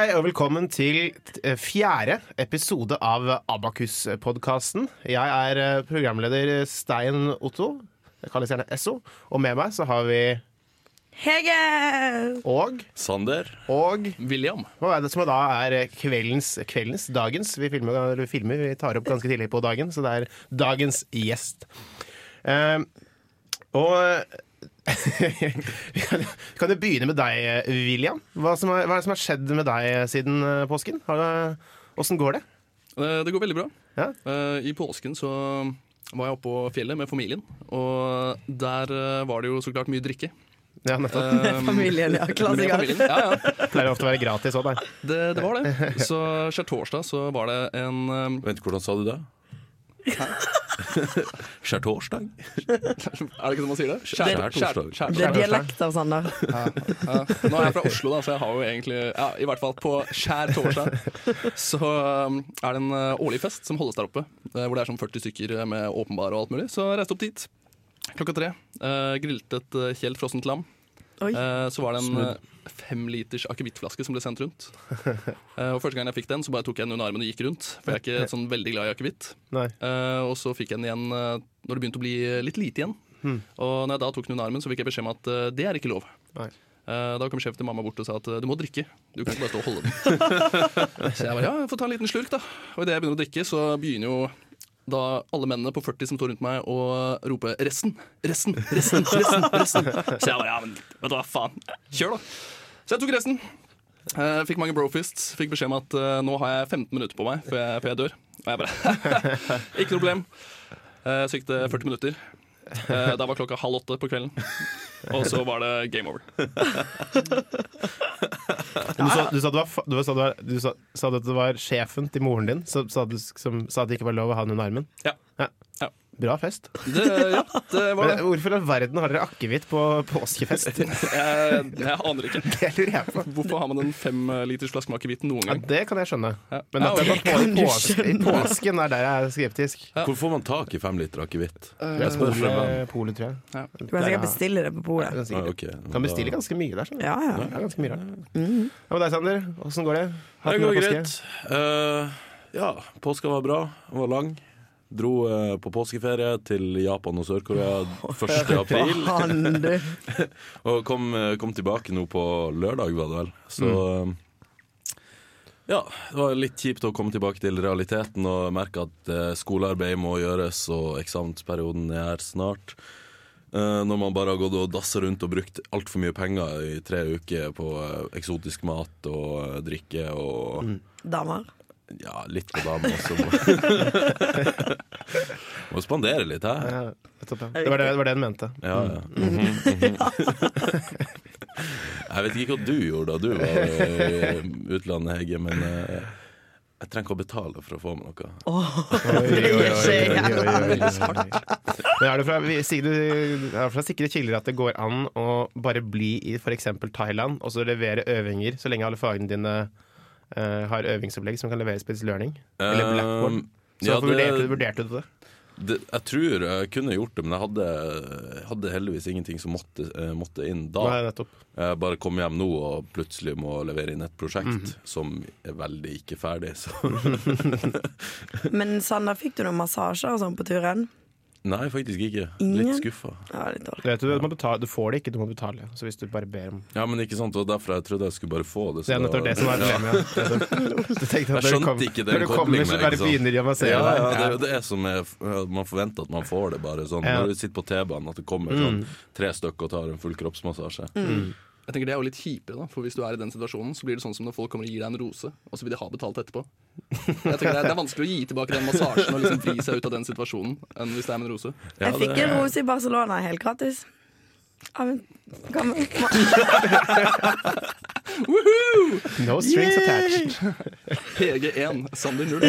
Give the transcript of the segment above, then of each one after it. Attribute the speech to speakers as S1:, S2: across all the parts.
S1: og velkommen til eh, fjerde episode av Abakus-podkasten. Jeg er eh, programleder Stein Otto. Jeg kalles gjerne Esso. Og med meg så har vi
S2: Hege!
S1: Og
S3: Sander.
S1: Og
S3: William.
S1: hva er det som da er eh, kveldens, kveldens dagens? Vi filmer, eller filmer, vi tar opp ganske tidlig på dagen, så det er dagens gjest. Eh, og Vi kan vi kan jo begynne med deg, William. Hva, som er, hva er det som har skjedd med deg siden eh, påsken? Åssen går det?
S3: Eh, Det går veldig bra.
S1: Ja?
S3: Eh, I påsken så var jeg oppe på fjellet med familien, og der eh, var det jo så klart mye drikke.
S1: Ja, nettopp.
S3: Eh,
S2: Familien, ja.
S3: med
S2: Klassiker.
S3: familien. Ja, ja.
S1: Det pleier ofte å være gratis òg, der.
S3: Det, det var det. Så skjærtorsdag så var det en eh,
S4: Vent, hvordan sa du det? Skjærtorsdag?
S3: Er det ikke sånn man sier det?
S4: Skjær- torsdag.
S3: skjær-
S2: Det er
S3: skjær-
S2: dialekter, Sander.
S3: Ja. Nå er jeg fra Oslo, da, så jeg har jo egentlig ja, I hvert fall på skjær torsdag så um, er det en uh, årlig fest som holdes der oppe. eh, Hvor det er sånn 40 stykker med åpenbare og alt mulig. Så jeg reiste opp dit klokka tre. eh, Grillet et eh, helt frossent lam.
S2: Oi.
S3: Eh, Så var det en eh, femliters akevittflaske som ble sendt rundt. Eh, Og Første gang jeg fikk den, så bare tok jeg den under armen og gikk rundt. For jeg er ikke sånn veldig glad i akevitt.
S1: Nei.
S3: Eh, og så fikk jeg den igjen eh, når det begynte å bli litt lite igjen. Og når jeg da tok den under armen, så fikk jeg beskjed om at eh, det er ikke lov.
S1: Nei.
S3: Eh, da kom sjefen til mamma bort og sa at eh, du må drikke. Du kan ikke bare stå og holde den. så jeg bare ja, jeg får ta en liten slurk, da. Og idet jeg begynner å drikke, så begynner jo da alle mennene på 40 som står rundt meg og roper 'resten, resten, resten'. resten, resten. Så jeg bare ja, men vet du hva, faen. Kjør, da. Så jeg tok resten. Eh, fikk mange brofists. Fikk beskjed om at eh, nå har jeg 15 minutter på meg før jeg, før jeg dør. Og jeg bare Ikke noe problem. Eh, så gikk det 40 minutter. Eh, da var klokka halv åtte på kvelden. Og så var det game over.
S1: Du, sa, du, sa det var, fa- du, sa, det var, du sa, sa det at det var sjefen til moren din som sa, du, som sa at det ikke var lov å ha den under armen.
S3: Ja. Ja.
S1: Bra fest.
S3: Det, ja, det var
S1: Men eh,
S3: det.
S1: hvorfor i all verden har dere akevitt på påskefest?
S3: Jeg, jeg aner ikke.
S1: Det lurer jeg på.
S3: Hvorfor har man en femliters flaske med akevitt noen
S1: Ja,
S3: gang?
S1: det kan jeg skjønne.
S3: Ja.
S1: Men at det
S3: Ja,
S1: var
S3: ok.
S1: på, i,
S2: du
S1: pås- i
S2: skjønne?
S1: påsken er der jeg er skeptisk.
S4: Hvor får man tak i fem liter akevitt?
S1: Øh.
S3: Eh,
S4: Jeg spør for en venn.
S1: Polet, tror jeg.
S3: Ja.
S2: Du kan sikkert bestille det på
S1: Ja,
S2: bordet.
S1: kan
S4: Ah,
S1: sikkert.
S4: ok.
S1: Kan bestille ganske mye der. skjønner du.
S2: Ja, Mm. ja.
S1: Det er ganske mye rart. Ja, men deg, Sander, åssen går det? Hatt
S4: Det
S1: noe
S4: går
S1: påske?
S4: greit. Eh, ja, påska var bra. Den var lang. Dro eh, på påskeferie til Japan og Sør-Korea 1. april.
S2: Faen, du.
S4: Og kom, eh, kom tilbake nå på lørdag, var det vel. Så eh, ja, det var litt kjipt å komme tilbake til realiteten og merke at eh, skolearbeid må gjøres, og eksamensperioden er her snart. Eh, når man bare har gått og dassa rundt og brukt altfor mye penger i tre uker på eh, eksotisk mat og eh, drikke og
S2: Damer.
S4: ja, litt på damer også. Må- Må spandere litt, hæ?
S1: Ja, nettopp, ja. Det var det, det var det hun mente.
S4: Ja, ja. Mhm,
S1: Mm.
S4: mhm. Jeg vet ikke hva du gjorde da du var i utlandet, Hege, men eh, jeg trenger ikke å betale for å få med noe.
S1: Men er det fra, vi- sier du- er det fra sikre kilder at det går an å bare bli i f.eks. Thailand og så levere øvinger, så lenge alle fagene dine eh, har øvingsopplegg som kan leveres på It's Learning? Eller Blackboard?
S4: Um,
S1: Så
S4: ja,
S1: hvorfor vurderte,
S4: det,
S1: vurderte du det?
S4: det, jeg tror jeg kunne gjort det, men jeg hadde, hadde heldigvis ingenting som måtte, eh, måtte inn da.
S1: Nei, nettopp.
S4: Jeg bare kom hjem nå og plutselig må levere inn et prosjekt
S1: Mhm.
S4: som er veldig ikke ferdig. Så.
S2: Men Sander, fikk du noen massasjer og sånn på turen?
S4: Nei, faktisk ikke.
S2: Ingen?
S4: Litt skuffa.
S2: Ja, litt dårlig.
S1: Vet du, du, må betale, du får det ikke, du må betale. Så hvis du bare ber om
S4: Ja, men ikke sant, og derfor jeg trodde jeg skulle bare få det.
S1: Det er
S4: da-
S1: nettopp det som er problemet. Ja. Du tenkte at
S4: Jeg
S1: når du
S4: skjønte
S1: kom-
S4: ikke den
S1: Når du kommer,
S4: koblingen,
S1: så
S4: ikke
S1: bare
S4: sant?
S1: begynner de å massere
S4: liksom. Ja, ja,
S1: deg.
S4: det er jo det som er Man forventer at man får det bare sånn.
S1: Ja. Mm.
S4: Når du sitter på T-banen, at det kommer sånn tre stykker og tar en full kroppsmassasje.
S3: Jeg tenker Det er jo litt kjipere, da for hvis du er i den situasjonen, så blir det sånn som når folk kommer og gir deg en rose, og så vil de ha betalt etterpå. Jeg tenker Det er, det er vanskelig å gi tilbake den massasjen og liksom vri seg ut av den situasjonen enn hvis det er med en rose.
S4: Ja,
S2: Jeg fikk
S4: det-
S2: en rose i Barcelona helt gratis. Av en gammel mann.
S1: No strings attached.
S3: PG1, Sander 0.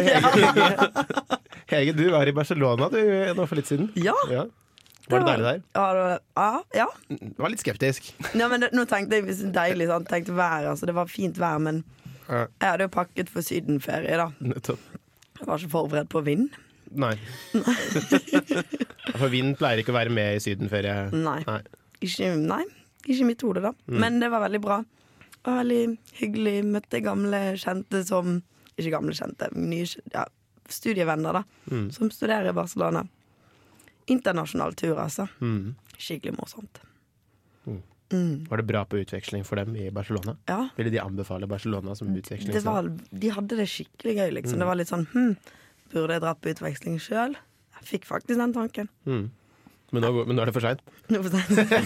S1: Hege, du var i Barcelona du, nå for litt siden.
S2: Ja.
S1: Ja. Var det deilig der?
S2: Ja, det var- Ja. ja.
S1: Du var litt skeptisk.
S2: Nei, men det, nå tenkte jeg hvis det er deilig, sant? tenkte vær, altså, det var fint vær, men
S1: Ja.
S2: jeg hadde jo pakket for sydenferie, da.
S1: Nettopp.
S2: Jeg var ikke forberedt på vind.
S1: Nei. For vind pleier ikke å være med i sydenferie.
S2: Nei.
S1: Nei.
S2: Mm. Ikke, nei, ikke i mitt hode, da. Men det var veldig bra. Det var veldig hyggelig. Møtte gamle kjente som Ikke gamle kjente, men nye kj- ja, studievenner, da. Som studerer i Barcelona. Internasjonal tur, altså. Skikkelig morsomt.
S1: Var det bra på utveksling for dem i Barcelona?
S2: Ja.
S1: Ville de anbefale Barcelona som utveksling?
S2: Det var, de hadde det skikkelig gøy, liksom. Det var litt sånn hm, Burde jeg dratt på utveksling sjøl? Jeg fikk faktisk den tanken.
S1: men, nå, men nå er det for seint.
S2: Nå får jeg si.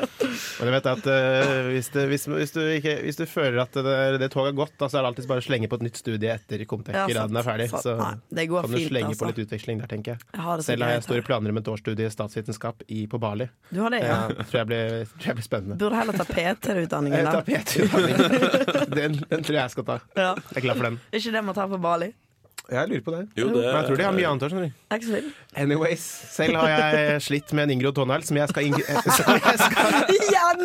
S1: Men jeg vet at eh, hvis, det, hvis, hvis, du ikke, hvis du føler at det, det toget har gått, da, så er det alltid bare å slenge på et nytt studie etter
S2: Ja, sant,
S1: Comtec-graden er ferdig.
S2: sant.
S1: Så
S2: Nei, det går
S1: kan du
S2: fint,
S1: slenge på
S2: altså.
S1: litt utveksling der, tenker jeg.
S2: Jeg har det så
S1: Selv har jeg
S2: greit her.
S1: store planer om et årsstudie i statsvitenskap i, på Bali.
S2: Du har det, ja?
S1: Ja, tror jeg blir, tror jeg blir spennende. Eh,
S2: Burde heller ta PT-utdanningen,
S1: Jeg tar
S2: da.
S1: PT-utdanning. Den, den tror jeg jeg skal ta.
S2: Ja.
S1: Jeg er glad for den.
S2: Er ikke det man tar på Bali?
S1: Jeg lurer på det.
S4: Jo, det-
S1: Men jeg tror de har mye annet òg, skjønner du.
S2: Er ikke så vild.
S1: Anyways, selv har jeg slitt med en Ingrid Tonal som jeg skal, ing som jeg skal
S2: Igjen!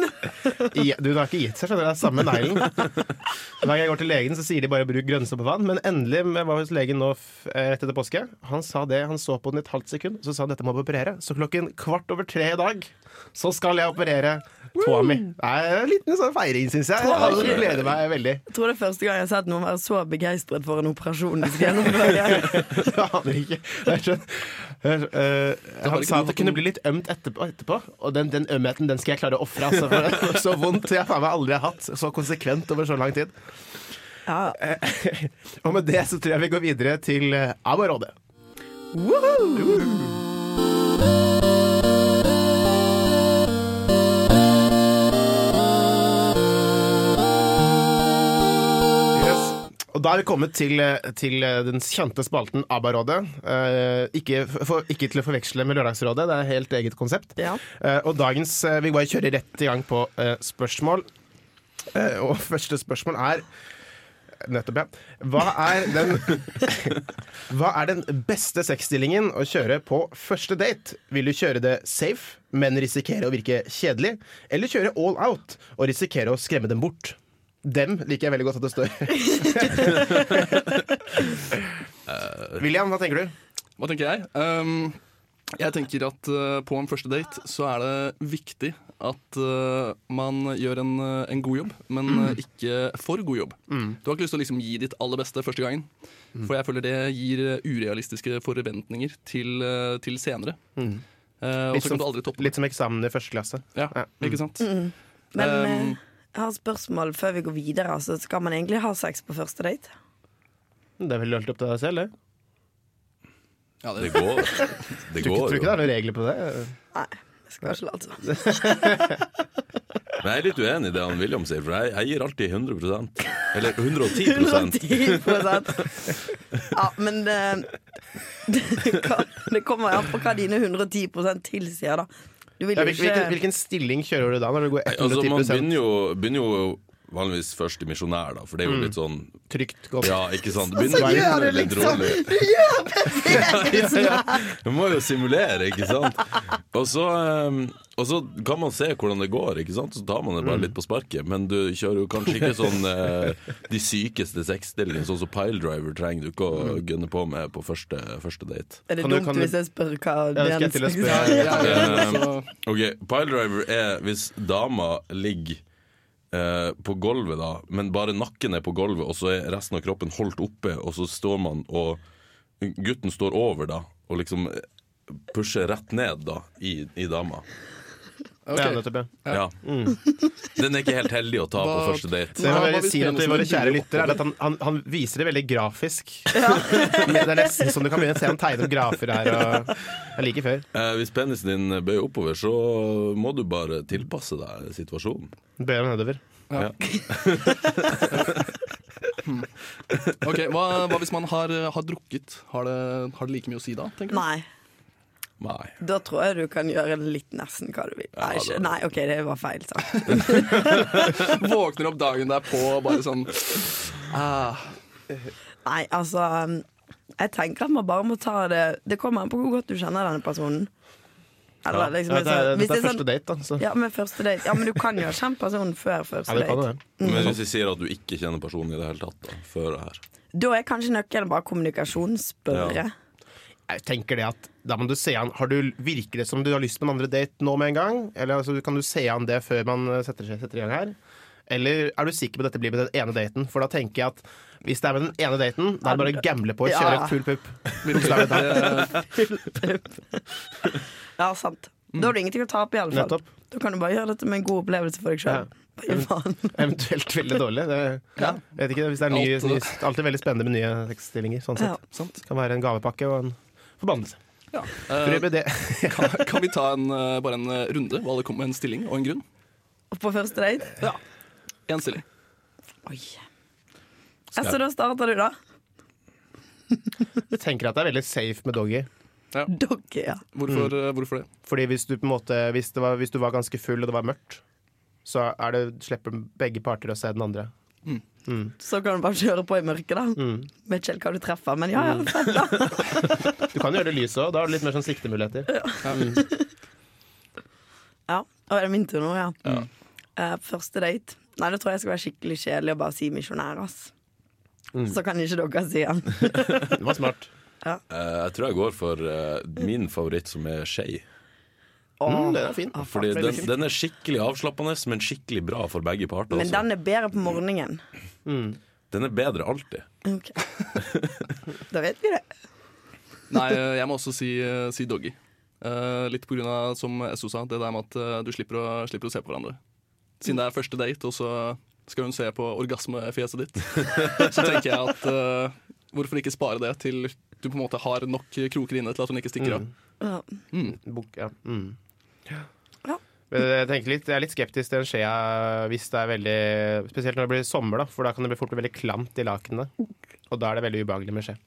S1: Ja, Du, det har ikke gitt seg, skjønner du. Det er samme neglen. Hver gang jeg går til legen, så sier de bare 'bruk grønnsaker på vann'. Men endelig jeg var hos legen nå f- eh, rett etter påske. Han sa det, han så på den i et halvt sekund, så sa han 'dette må vi operere'. Så klokken kvart over tre i dag så skal jeg operere tåa mi. Det er en liten sånn feiring, syns jeg. Jeg gleder meg veldig.
S2: Jeg tror det er første gang jeg har sett noen være så begeistret for en operasjon de skal gjennomføre.
S1: Jeg aner ikke. Jeg skjønner. Hør, eh, han sa
S3: ikke du
S1: at det
S3: hatt
S1: kunne
S3: noen-
S1: bli litt ømt etterpå, etterpå og den, den ømheten den skal jeg klare å ofre. Altså, for det var så vondt jeg faen meg aldri har hatt så konsekvent over så lang tid.
S2: Ja.
S1: Og med det så tror jeg vi går videre til eh, Abarådet. Yes. Og da er vi kommet til, eh, til eh, den kjente spalten ABBA-rådet. Eh, ikke, for, ikke til å forveksle med Lørdagsrådet, det er helt eget konsept.
S2: Ja.
S1: Eh, og dagens eh, Vi bare kjører rett i gang på eh, spørsmål. Eh, og første spørsmål er Nettopp, ja. Hva er den, hva er den beste sexstillingen å kjøre på første date? Vil du kjøre det safe, men risikere å virke kjedelig? Eller kjøre all out og risikere å skremme dem bort? Dem liker jeg veldig godt at det står. William, hva tenker du?
S3: Hva tenker jeg? Ehm, jeg tenker at eh, på en første date så er det viktig at eh, man gjør en, eh, en god jobb, men eh,
S1: Mm.
S3: ikke for god jobb. Du har ikke lyst til å liksom gi ditt aller beste første gangen.
S1: Mm.
S3: For jeg føler det gir eh, urealistiske forventninger til, eh, til senere. Eh, og
S1: Litt
S3: så kan du
S1: som-
S3: aldri toppe det.
S1: Mm. Litt Mm. som eksamen i første klasse.
S3: Ja, ikke sant?
S2: Men eh,
S3: Um,
S2: jeg har et spørsmål før vi går videre. Altså, skal man egentlig ha sex på første date?
S1: Det er vel helt opp til deg selv, det.
S3: Ja,
S4: Det
S3: det,
S4: går. Det
S1: Tror ikke,
S4: går
S1: tror ikke det
S4: jo.
S1: er noen regler på det.
S2: Nei. Jeg skal ikke late som.
S4: Men jeg er litt uenig i det han William sier, for jeg, jeg gir alltid 100 Eller 110
S2: 110 Ja, men det, det, kan- det kommer an på hva dine 110 tilsier, da. Du vil
S1: Ja,
S2: jo
S1: hvil- hvilken,
S2: ikke
S1: hvilken stilling kjører du da, når du går
S4: Altså,
S1: 110
S4: man begynner jo, begynner jo vanligvis først i misjonær, da, for det er jo litt
S1: Mm.
S4: sånn
S1: trygt godt?
S4: Ja, ikke sant?
S2: Så
S4: Begynner-
S2: gjør du
S4: begynner litt
S2: liksom
S4: rolig.
S2: Du gjør bevegelsen!
S4: Du må jo simulere, ikke sant? Og så, ehm, og så kan man se hvordan det går, ikke sant? Så tar man det bare litt på sparket. Men du kjører jo kanskje ikke sånn eh, de sykeste sexstillingene, sånn som piledriver trenger du ikke å gunne på med på første, første date.
S2: Er det
S1: Kan du-
S2: dumt
S1: kan du-
S2: hvis jeg spør hva
S1: Ja, det skal jeg til å spørre.
S2: Ja.
S3: ja, ja, så,
S4: Ok, piledriver er hvis dama ligger eh, på gulvet da, men bare nakken er på gulvet, og så er resten av kroppen holdt oppe, og så står man og Gutten står over da, og liksom pusher rett ned da, i, i dama.
S3: ok.
S1: Ja, nettopp, ja.
S4: Ja.
S2: Mm.
S4: Den er ikke helt heldig å ta på
S3: Hva-
S4: første date.
S1: Så jeg vil
S3: Nei, hva
S1: veldig
S3: hvis
S1: si noe til
S3: penisen
S1: våre
S3: er
S1: kjære
S3: dyp
S1: lyttere er at han, han, han viser det veldig grafisk. Men det er nesten som du kan begynne å se han tegne opp grafer her. Og jeg liker før.
S4: Eh, hvis penisen din bøyer oppover, så må du bare tilpasse deg situasjonen.
S1: Bøyer han nedover.
S3: Ja. Hmm. ok, hva, hva hvis man har, eh, har drukket? Har det, har det like mye å si da? tenker du?
S2: Nei.
S4: Nei.
S2: Da tror jeg du kan gjøre litt nesten hva du vil. Nei,
S4: Ja,
S2: ikke.
S4: det-
S2: Nei OK, det var feil sagt.
S3: Våkner opp dagen derpå og bare sånn ah,
S2: Nei, altså um, Jeg tenker at man bare må ta det Det kommer an på hvor godt du kjenner denne personen. Eller
S1: Ja,
S2: liksom
S1: dette er, dette er
S2: hvis det er sånn-
S1: første date, da. Så.
S2: Ja, men første date. Ja, men du kan jo kjenne personen før første
S1: Ja, det kan
S2: date.
S1: jo det.
S4: Men hvis vi sier at du ikke kjenner personen i det hele tatt da, før det her
S2: Da er kanskje nøkkelen bare kommunikasjon. Spørre.
S4: Ja.
S1: Jeg tenker det at da må du se an Har du virker det som du har lyst på en andre date nå med en gang? Eller altså, kan du se an det før man eh, setter, seg, setter i gang her? Eller er du sikker på at dette blir med den ene daten? For da tenker jeg at hvis det er med den ene daten, da er det bare å gamble på å
S2: Ja.
S1: kjøre full pupp.
S3: Virkelig. Det,
S2: Ja, sant. Da har du ingenting å tape, i alle fall.
S1: Nettopp.
S2: Da kan du bare gjøre dette med en god opplevelse for deg
S1: Ja.
S2: sjøl. Ja.
S1: Eventuelt veldig dårlig. Det,
S3: Ja.
S1: vet ikke, hvis det er ny,
S3: Alt-
S1: ny, alltid veldig spennende med nye tekststillinger. Sånn sett.
S2: Ja.
S3: sant?
S1: Kan være en gavepakke og en forbannelse.
S3: Ja.
S1: For
S3: Eh,
S1: øvrig, det,
S3: kan, kan vi ta en, eh, bare en eh, runde, hvor alle kommer med en stilling og en grunn?
S2: Og på første date
S3: Ja. Én stilling.
S2: Oi. Ja, Så da starter du, da.
S1: jeg tenker at det er veldig safe med doggy.
S2: Doggy, ja.
S3: Hvorfor, eh, hvorfor det?
S1: Fordi hvis du på en måte hvis, det var, hvis du var ganske full og det var mørkt, så er det, slipper begge parter å se den andre.
S2: Så kan du bare kjøre på i mørket, da. Vet ikke helt hva du treffer, men ja, ja. fett.
S1: Du kan jo gjøre det lyset òg. Da har du litt mer sånn siktemuligheter.
S2: ja. Og er det min tur nå, ja?
S3: Ja.
S2: Eh, første date Nei, det tror jeg skal være skikkelig kjedelig å bare si misjonær, ass. Så kan ikke dere si han.
S1: Det var smart.
S4: Eh, jeg tror jeg går for eh, min favoritt, som er skei.
S1: Mm, den er fin.
S2: Ah,
S4: Fordi
S2: fuck.
S4: den, den er skikkelig avslappende, men skikkelig bra for begge parter.
S2: Men
S4: altså.
S2: den er bedre på morgenen.
S4: Den er bedre alltid.
S2: Ok. da vet vi det.
S3: Nei, eh, jeg må også si, eh, si doggy. Eh, litt på grunn av, som Esso sa, det der med at eh, du slipper å, slipper å se på hverandre. Siden det er første date, og så skal hun se på orgasmefjeset ditt, så tenker jeg at eh, hvorfor ikke spare det til du på en måte har nok kroker inne til at hun ikke stikker av.
S2: Ja.
S1: Bok, ja. Mm.
S2: Ja.
S1: Men jeg, tenker litt, jeg er litt skeptisk til en skje hvis det er veldig Spesielt når det blir sommer, da, for da kan det bli fort bli veldig klamt i lakenet. Og da er det veldig ubehagelig med skje.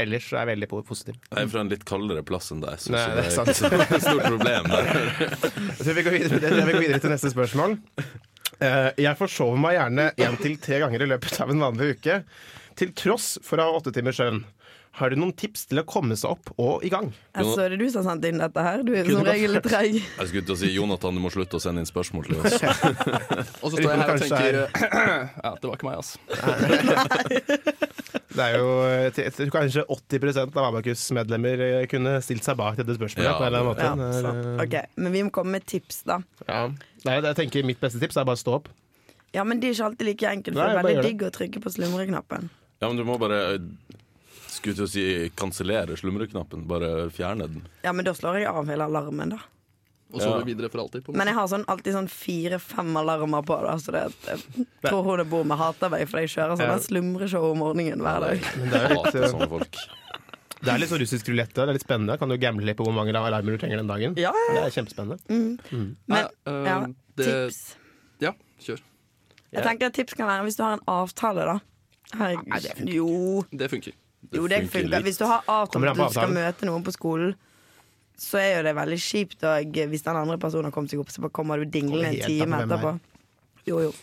S1: Ellers er jeg veldig po- positiv.
S4: Jeg er fra en litt kaldere plass enn deg, så,
S1: Nei,
S4: så
S1: det
S4: det
S1: er
S4: er ikke så et stort problem. Der.
S1: Jeg tror vi går videre, jeg tror vi går videre til neste spørsmål. Eh, Jeg forsover meg gjerne én til tre ganger i løpet av en vanlig uke. Til tross for å ha åtte timers søvn. Har du noen tips til å komme seg opp og i gang?
S2: Altså, er det du som har sendt inn dette her? Du er jo
S1: Kunne
S2: som
S1: gått
S2: regel litt treig.
S4: Jeg skulle til å si Jonathan, du må slutte å sende inn spørsmål til oss.
S3: Og så står jeg her og
S1: Kanskje
S3: tenker Ja, det var ikke meg, altså.
S1: Det er jo jeg tror Kanskje 80 av Abakus-medlemmer eh, kunne stilt seg bak dette spørsmålet.
S4: Ja,
S1: på en eller
S4: det-
S2: Ja,
S1: annen måte.
S2: sant.
S1: Det er,
S2: Ok, Men vi må komme med tips, da.
S1: Ja. Nei, jeg tenker Mitt beste tips er bare å stå opp.
S2: Ja, Men det er ikke alltid like enkelt. For
S1: Nei,
S2: det er
S1: bare gjør
S2: veldig
S1: det.
S2: digg å trykke på slumreknappen.
S4: Ja, men du må bare eh, Skulle til å si kansellere slumreknappen. Bare fjerne den.
S2: Ja, men da slår jeg av hele alarmen, da.
S3: Og så
S4: Ja.
S3: er vi videre for alltid. På en
S2: Men
S3: måte.
S2: jeg har sånn, alltid sånn fire-fem alarmer på, da. Så det, jeg tror hun det bor med hater meg, for jeg kjører sånn
S1: Ja.
S2: der slumreshow om morgenen hver dag.
S1: det er jo
S4: Jeg
S1: litt, eh,
S4: hater sånne folk.
S1: Det er litt sånn russisk rulett. Det er litt spennende. Kan du gamble litt på hvor mange alarmer du trenger den dagen?
S2: Ja, ja, Mm.
S1: Det er kjempespennende.
S2: Men
S3: Nei, eh,
S2: ja,
S3: det-
S2: tips.
S3: Ja, kjør.
S2: Jeg tenker at tips kan være hvis du har en avtale, da. Her, jo,
S3: Det funker.
S2: jo, det
S4: funker
S2: funker.
S4: litt.
S2: Hvis du har
S1: Kommer an
S2: avtale at
S1: på
S2: du skal
S1: avtalen.
S2: møte noen på skolen, så er jo det veldig kjipt og hvis den andre personen har kommet seg opp, så bare kommer du dinglende en
S1: Kommer helt an
S2: time
S1: på hvem
S2: etterpå. Jo, jo.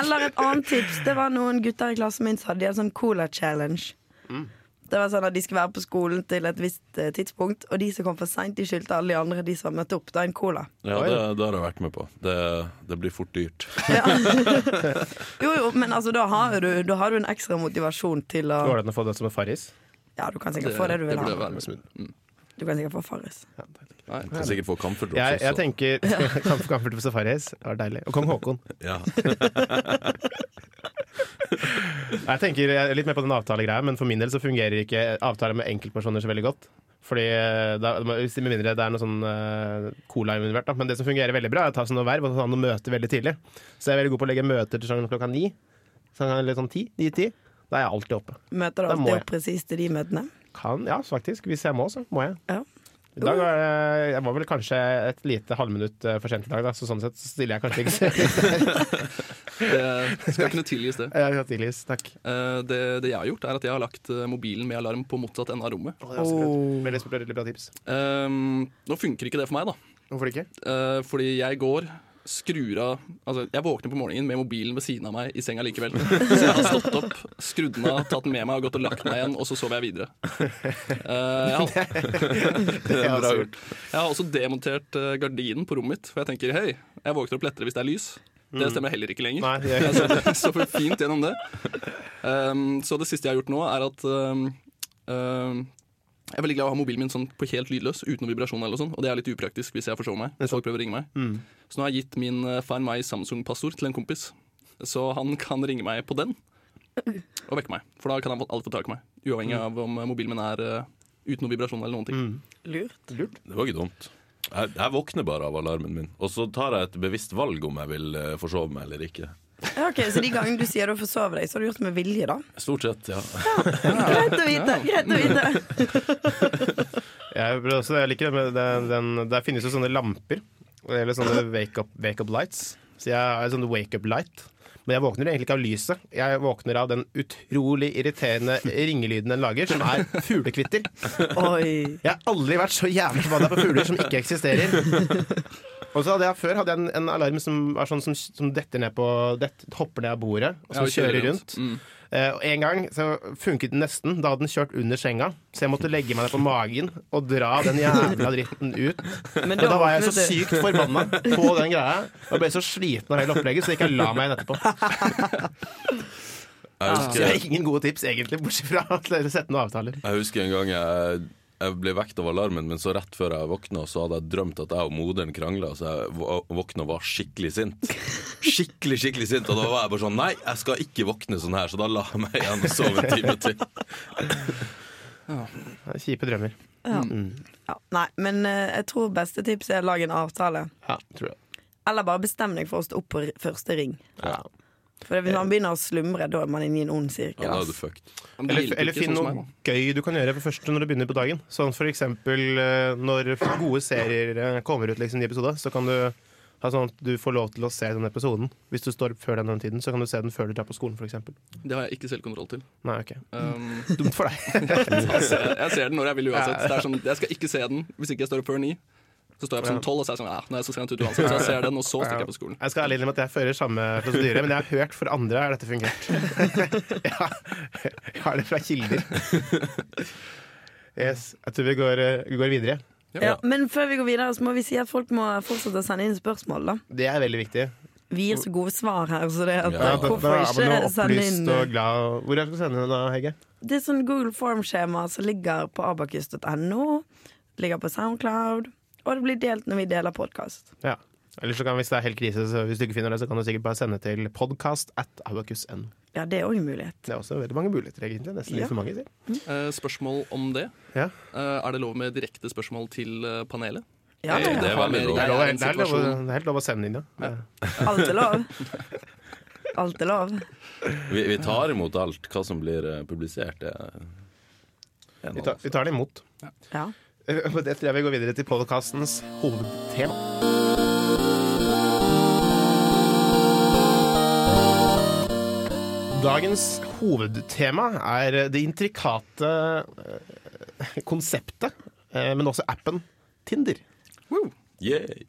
S2: Eller et annet tips. Det var noen gutter i klassen min som hadde en sånn cola challenge.
S1: Mm.
S2: Det var sånn at De skulle være på skolen til et visst eh, tidspunkt, og de som kom for seint, skyldte alle de andre de som møtte opp, da en cola.
S4: Ja, det, det har jeg vært med på. Det, det blir fort dyrt.
S2: Jo, jo, men altså, da har du, da har du en ekstra motivasjon til å
S1: Går det an å få det som en farris?
S2: Ja, du kan sikkert få det du vil
S3: det burde
S2: ha.
S3: være med smidd.
S2: Du kan sikkert få Farris.
S3: Nei.
S4: Du kan sikkert få camphordrops
S1: Jeg, jeg
S4: også.
S1: tenker Kamp- Kamper på safaris. Det var deilig. Og kong Haakon.
S4: Ja.
S1: Jeg tenker jeg er litt mer på den avtalegreia, men for min del så fungerer ikke avtaler med enkeltpersoner så veldig godt. Fordi eh, da, hvis- Med mindre det er noe sånn eh, cola involvert. da. Men det som fungerer veldig bra, er å ta sånne verv og ta noen møter veldig tidlig. Så jeg er veldig god på å legge møter til sånn klokka ni. Sånn, eller sånn ti. Ni-ti. Da er jeg alltid oppe.
S2: Møter du
S1: Da må
S2: alltid
S1: jeg.
S2: opp presis til de møtene?
S1: Kan, ja, faktisk. Hvis jeg må, så må jeg.
S2: Ja.
S1: I dag var jeg, jeg var vel kanskje et lite halvminutt eh, for sent i dag, da, så sånn sett så stiller jeg kanskje ikke
S3: Det skal kunne tilgis, det.
S1: Jeg har hatt tidligst, Takk.
S3: Eh, det. Det jeg har gjort, er at jeg har lagt eh, mobilen med alarm på motsatt ende av rommet.
S2: Oh.
S1: Veldig, veldig bra tips.
S3: Ehm, nå funker ikke det for meg, da.
S1: Hvorfor ikke?
S3: Eh, fordi jeg går, skrur av Altså, jeg våkner på morgenen med mobilen ved siden av meg i senga likevel. Så jeg har stått opp, skrudd den av, tatt den med meg og gått og lagt meg igjen, og så sover jeg videre. Eh, jeg, har,
S1: Det er
S4: bra
S1: også
S4: gjort.
S3: jeg har også demontert eh, gardinen på rommet mitt, for jeg tenker hei, jeg våkner opp lettere hvis det er lys.
S2: Mm.
S3: Det stemmer heller ikke lenger.
S1: Nei, jeg,
S3: Jeg sover- sover fint gjennom det. Ehm, så det siste jeg har gjort nå, er at ehm, ehm, jeg er veldig glad i å ha mobilen min sånn på helt lydløs, uten noe vibrasjon. eller noe sånt, Og det er litt
S1: Mm.
S3: upraktisk hvis jeg forsover meg. Folk prøver å ringe meg. Så nå har jeg gitt min eh, Find My Samsung-passord til en kompis. Så han kan ringe meg på den og vekke meg. For da kan han alltid få tak i meg. Uavhengig
S1: Mm.
S3: av om mobilen min er eh, uten noen vibrasjon eller noen ting.
S2: Lurt.
S4: Det var ikke dumt. Jeg, jeg våkner bare av alarmen min, og så tar jeg et bevisst valg om jeg vil eh, forsove meg eller ikke.
S2: Ja, ok, Så de gangene du sier du forsover deg, så har du gjort det med vilje, da?
S4: Stort sett, ja.
S2: Greit å vite! greit å vite
S1: Jeg, vil også, jeg liker det, men det- den, der finnes jo sånne lamper, eller sånne wake up, wake up lights. Så jeg har en sånn wake up light. Men jeg våkner egentlig ikke av lyset. Jeg våkner av den utrolig irriterende ringelyden den lager, som er fuglekvitter.
S2: Oi.
S1: Jeg har aldri vært så jævlig forbanna på fugler som ikke eksisterer. Og så hadde jeg Før hadde jeg en, en alarm som, var sånn, som, som detter ned på dett, hopper ned av bordet, og som
S3: Ja, og
S1: kjører rundt.
S3: Mm.
S1: Eh, og En gang så funket den nesten. Da hadde den kjørt under senga, så jeg måtte legge meg ned på magen og dra den jævla dritten ut.
S2: Men
S1: Og da var jeg
S2: våknet
S1: så
S2: du.
S1: sykt forbanna på den greia. Og jeg ble så sliten av hele opplegget, så jeg ikke la meg igjen etterpå.
S4: Jeg
S1: Ah. Så jeg
S4: husker,
S1: har ingen gode tips, egentlig, bortsett fra å sette noen avtaler.
S4: jeg husker en gang jeg, jeg ble vekt av alarmen, men så rett før jeg våkna, så hadde jeg drømt at jeg og moderen krangla, så jeg vå- våkna og var skikkelig sint. Skikkelig, skikkelig sint. Og da var jeg bare sånn Nei, jeg skal ikke våkne sånn her, så da la jeg meg igjen og sov en time til.
S1: Kjipe drømmer.
S2: Ja. Ja. Nei, men eh, jeg tror beste tips er lag en avtale.
S1: Ja, tror jeg.
S2: Eller bare bestem deg for å stå opp på r- første ring.
S1: Ja.
S2: For hvis man begynner å slumre, da er man inne i en ond sirkel.
S4: Ja, da
S2: ass.
S4: er du fucked.
S3: Men det
S1: Eller,
S3: hjelper
S1: eller
S3: ikke,
S1: finn
S3: sånn som
S1: noe
S3: meg,
S1: gøy du kan gjøre på første når du begynner på dagen. Sånn for eksempel eh, når gode serier eh, kommer ut liksom, i episoder, så kan du ha sånn at du får lov til å se den episoden. Hvis du står opp før den, den tiden, så kan du se den før du drar på skolen, for eksempel.
S3: da. Det har jeg ikke selvkontroll til.
S1: Nei, ok.
S3: Um,
S1: Dumt for deg.
S3: jeg, ser, jeg ser den når jeg vil uansett. Det er sånn, jeg skal ikke se den hvis ikke jeg står opp før ni. Så står jeg opp sånn tolv og så er jeg sånn, ja, nei, så skal jeg en tur uansett. Så jeg ser den, og så stikker jeg på skolen.
S1: Jeg skal ærlig innrømme at jeg fører samme prosedyre, men jeg har hørt for andre har dette fungert. ja, jeg har det fra kilder. Yes, jeg tror vi går, eh, vi går videre.
S2: Ja, men før vi går videre, så må vi si at folk må fortsette å sende inn spørsmål. da
S1: Det er veldig viktig.
S2: Vi gir så gode svar her, så det at
S4: Ja,
S1: Ja,
S2: eh,
S1: da, da
S2: hvorfor
S1: er man jo
S2: ikke sende
S1: opplyst
S2: inn eh,
S1: og glad. Hvor er det du skal sende den da, Hege?
S2: Det er sånn Google Form-skjema som ligger på abakus.no, ligger på Soundcloud, og det blir delt når vi deler podkast.
S1: Ja. Eller så kan, hvis det er helt krise, så hvis du ikke finner det, så kan du sikkert bare sende til podcast at abacus.no.
S2: Ja, det er òg en mulighet.
S1: Det er også veldig mange muligheter, egentlig. Nesten litt
S2: Ja.
S1: for mange. sier.
S3: Eh, spørsmål om det.
S1: Ja.
S3: Eh, er det lov med direkte spørsmål til eh, panelet?
S2: Ja,
S4: Det
S2: ja.
S4: er veldig
S3: Jeg
S4: lov.
S1: Det er,
S3: er
S1: lov,
S3: i en
S1: det, er lov,
S3: situasjon-
S1: det er helt lov å sende inn, ja.
S2: Alt er lov. Alt er lov.
S4: Vi, vi tar imot alt. Hva som blir eh, publisert, det er en
S1: Vi tar,
S4: annen
S1: vi tar det imot.
S2: Ja.
S1: Eh, og Det tror jeg vi går videre til podkastens hovedtema. Dagens hovedtema er det intrikate eh, konseptet, eh, men også appen Tinder.
S4: Yay.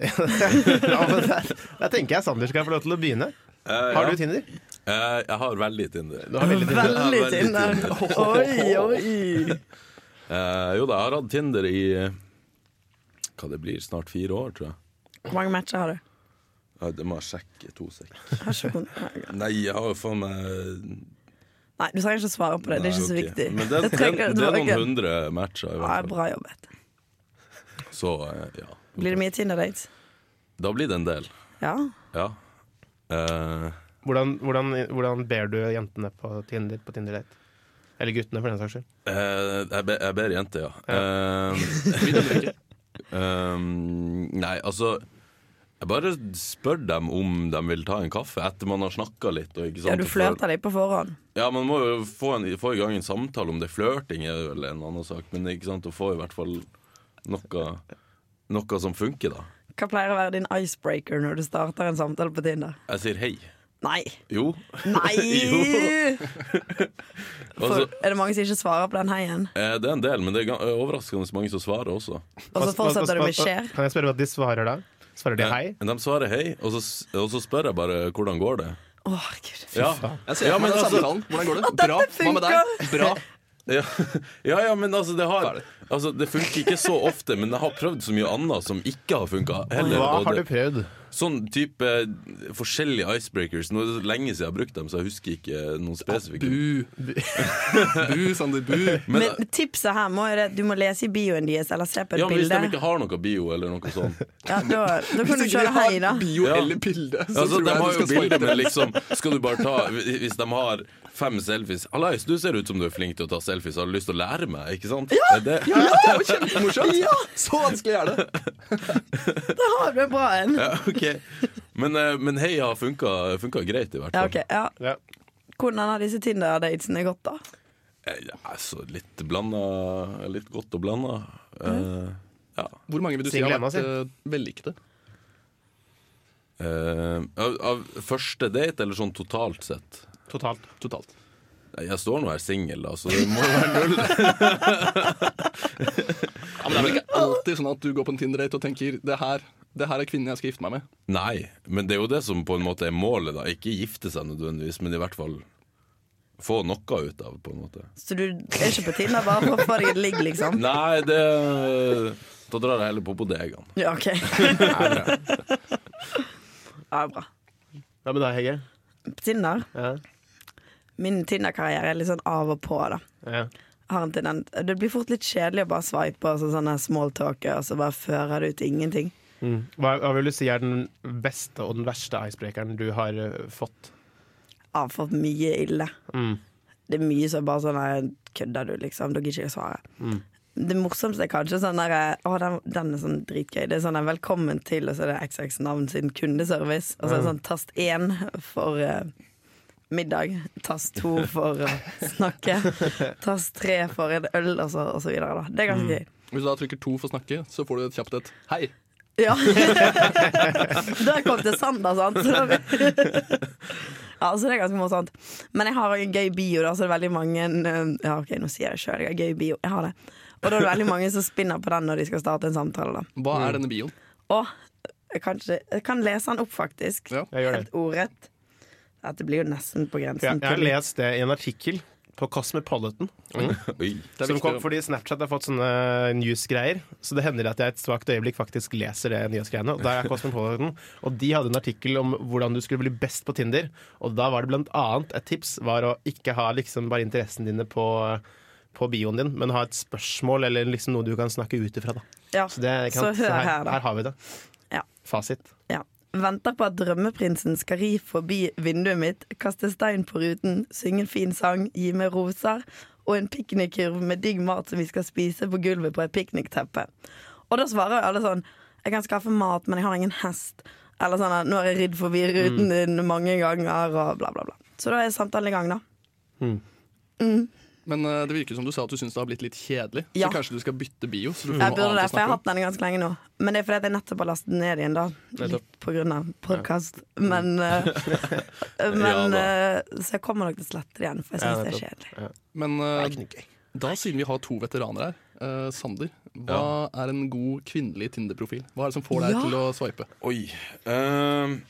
S1: Ja, men der, der tenker jeg Sander skal få lov til å begynne.
S4: Eh,
S1: Har
S4: ja.
S1: du Tinder?
S4: Eh, jeg har veldig Tinder.
S1: Du har veldig Tinder.
S2: Veldig
S4: Ja, veldig
S2: tynn der. Oi, oi.
S4: Eh, jo da, jeg har hatt Tinder i eh, hva det blir, snart fire år, tror jeg.
S2: Hvor mange matcher har du?
S4: Ja, det må jeg sjekke to sek.
S2: Har ikke kon-
S4: Nei, jeg har jo faen meg
S2: Nei, du trenger ikke å svare på det. Det er ikke så
S4: Nei, ok.
S2: viktig.
S4: Men det,
S2: Jeg
S4: det,
S2: trenger-
S4: det,
S2: var
S4: er noen
S2: ikke-
S4: hundre matcher, i
S2: Ja,
S4: hvert fall.
S2: bra jobbet.
S4: Så eh, ja.
S2: Blir det mye Tinder-dates?
S4: Da blir det en del.
S2: Ja.
S4: Ja. Eh,
S1: Hvordan, hvordan, hvordan ber du jentene på Tinder på Tinder-date? Eller guttene, for den saks skyld.
S4: eh, jeg, be, jeg ber jenter, ja. Eh,
S3: Vil dere ikke?
S4: Um, nei, altså Jeg bare spør dem om de vil ta en kaffe etter man har snakka litt. Og ikke sant?
S2: ja, du flørter deg på forhånd.
S4: Ja, man må jo få, en, få i gang en samtale. Om det er flørting er vel en annen sak, men ikke sant, å få i hvert fall noe, noe som funker, da.
S2: Hva pleier å være din icebreaker når du starter en samtale på Tinder?
S4: Jeg sier hei.
S2: Nei!
S4: Jo.
S2: Nei!
S4: Jo.
S2: For,
S4: Altså,
S2: er det mange som ikke svarer på den heien?
S4: eh, det er en del, men det er gan- overraskende mange som svarer
S2: Og så
S4: også.
S1: Hva- hva-
S2: Altså, fortsetter du
S1: hva-
S2: med
S1: hva-
S2: 'skjer'?
S1: Kan jeg spørre hva de svarer da? Svarer de hei?
S4: Eh, De svarer hei, og så, s- og så spør jeg bare hvordan går det.
S2: Å, herregud.
S4: Ja,
S3: Jeg ser
S4: ja,
S3: på
S4: men
S3: meg den
S4: altså,
S3: samtalen. Hvordan går det?
S2: Å, dette
S3: Bra. Hva med deg? Bra.
S4: Ja, ja, ja men altså det, har,
S3: Ferdig.
S4: altså det funker ikke så ofte, men jeg har prøvd så mye annet som ikke har funka.
S1: Hva har du prøvd?
S4: Sånn type eh, forskjellige icebreakers. Nå er det så lenge siden jeg har brukt dem, så jeg husker ikke noen spesifikke.
S3: Bu. Bu, Sander. Bu.
S4: Men, eh,
S2: Men tipset her må være at du må lese i bioen deres eller se på et
S4: ja, men hvis de
S2: bilde.
S4: ikke har noe bio eller noe sånt
S2: Ja, da, da kan du kjøre hei, da.
S3: bio
S4: Ja.
S3: eller bilde, så
S4: altså,
S3: tror
S4: De
S3: jeg
S4: har
S3: du
S4: jo
S3: skal spoile
S4: bilder
S3: det.
S4: med liksom Skal du bare ta Hvis de har fem selfies Allais, du ser ut som du er flink til å ta selfies Har du lyst til å lære meg, ikke sant? Ja, det,
S3: Ja, det var kjempemorsomt! Så vanskelig er det.
S2: Da har du en bra en.
S4: Ja, ok Men, eh, men heia funka, funka greit i hvert
S2: Ja,
S4: fall
S2: ok. Ja.
S1: Ja.
S2: Hvordan har disse Tinder-datene gått, da?
S4: Eh, ja, Altså, litt blanda Litt godt og blanda Eh, Ja
S3: Hvor mange vil du si
S1: Single
S3: har
S1: Emma
S3: vært
S1: sin.
S3: uh, vellykkede?
S4: Eh, av, av første date, eller sånn totalt sett
S1: Totalt.
S3: Totalt.
S4: Nei, Jeg står nå her singel, da, så det må jo være null.
S3: Ja, men det er vel ikke alltid sånn at du går på en Tinder-date og tenker det her, det her er kvinnen jeg skal gifte meg med.
S4: Nei, men det er jo det som på en måte er målet, da. Ikke gifte seg nødvendigvis, men i hvert fall få noe ut av, på en måte.
S2: Så du er ikke på Tinder bare for å få deg et ligg, liksom?
S4: Nei, det Da drar jeg heller på bodegaen.
S2: Ja, OK. Ja, bra.
S1: Hva med deg, Hege?
S2: På Tinder?
S1: Ja.
S2: Min Tinder-karriere er litt sånn av og på, da.
S1: Ja.
S2: Har en tendens- det blir fort litt kjedelig å bare sveipe og så sånne smalltalker, og så bare fører det ut til ingenting.
S1: Hva, hva vil du si er den beste og den verste icebreakeren du har eh, fått?
S2: Jeg har fått mye ille.
S1: Mm.
S2: Det er mye som er bare sånn her, Kødder du, liksom? Da gidder jeg ikke å svare. Det morsomste er kanskje sånn der Å, den, den er sånn dritgøy. Det er sånn der, Velkommen til, og så er det XX navn sin kundeservice. Og så er det sånn tast én for eh, middag. Tast to for å snakke. Tast tre for en øl, og så, og så videre. Da. Det er ganske gøy.
S3: Hvis du da trykker to for å snakke, så får du et kjapt et hei.
S2: Ja. Der kom det Sander, sant? Så da vi- Ja, så det er ganske morsomt. Men jeg har en gøy bio, da, så det er veldig mange eh, Ja, OK, nå sier jeg det sjøl, jeg har gøy bio. Jeg har det. Og da er det veldig mange som spinner på den når de skal starte en samtale, da.
S3: Hva er
S4: Mm.
S3: denne bioen?
S2: Og jeg kan, ikke, jeg kan lese den opp, faktisk.
S3: Ja.
S1: Jeg gjør det.
S2: Helt ordrett. Dette blir jo nesten på grensen.
S1: Ja, jeg har
S2: til-
S1: lest det i en artikkel på Cosmopolitan.
S4: Oi.
S3: Det er
S1: Som kom,
S3: viktig å-
S1: fordi Snapchat har fått sånne newsgreier, så det hender at jeg et svakt øyeblikk faktisk leser det nyhetsgreiene. Og der er Cosmopolitan Og de hadde en artikkel om hvordan du skulle bli best på Tinder. Og da var det blant annet et tips var å ikke ha liksom bare interessene dine på på bioen din, Men ha et spørsmål eller liksom noe du kan snakke ut ifra. da.
S2: Ja.
S1: Så, det, ikke
S2: Så
S1: sant?
S2: hør her,
S1: her,
S2: da.
S1: her har vi det.
S2: Ja.
S1: Fasit.
S2: Ja. Venter på at drømmeprinsen skal ri forbi vinduet mitt, kaste stein på ruten, synge en fin sang, gi meg roser og en piknikkurv med digg mat som vi skal spise på gulvet på et piknikteppe. Og da svarer jo alle sånn Jeg kan skaffe mat, men jeg har ingen hest. Eller sånn Nå har jeg ridd forbi ruten din mange ganger, og bla, bla, bla. Så da er samtalen i gang, da.
S3: Men eh, det virker som du sa at du syns det har blitt litt kjedelig.
S2: Ja.
S3: Så kanskje du skal bytte bio? Så du får
S2: Jeg
S3: noe
S2: burde det,
S3: annet
S2: for jeg har
S3: å snakke om.
S2: hatt den ganske lenge nå. Men det er fordi at jeg nettopp har lastet den ned igjen, da. Litt på grunn av podkast. Men, eh, men eh, Så jeg kommer nok til å slette det igjen, for jeg syns det er kjedelig.
S3: Men
S1: Det er
S3: eh,
S1: ikke noe gøy.
S3: da, siden vi har to veteraner her, eh, Sander, hva er en god kvinnelig Tinder-profil? Hva er det som får deg
S2: Ja.
S3: til å sveipe?
S4: Oi. Ehm,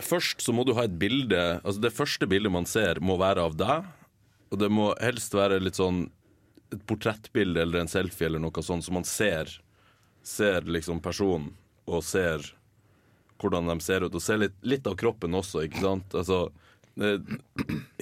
S4: først så må du ha et bilde Altså Det første bildet man ser, må være av deg. Og det må helst være litt sånn et portrettbilde eller en selfie eller noe sånt, så man ser Ser liksom personen og ser hvordan de ser ut. Og ser litt, litt av kroppen også, ikke sant? Altså det,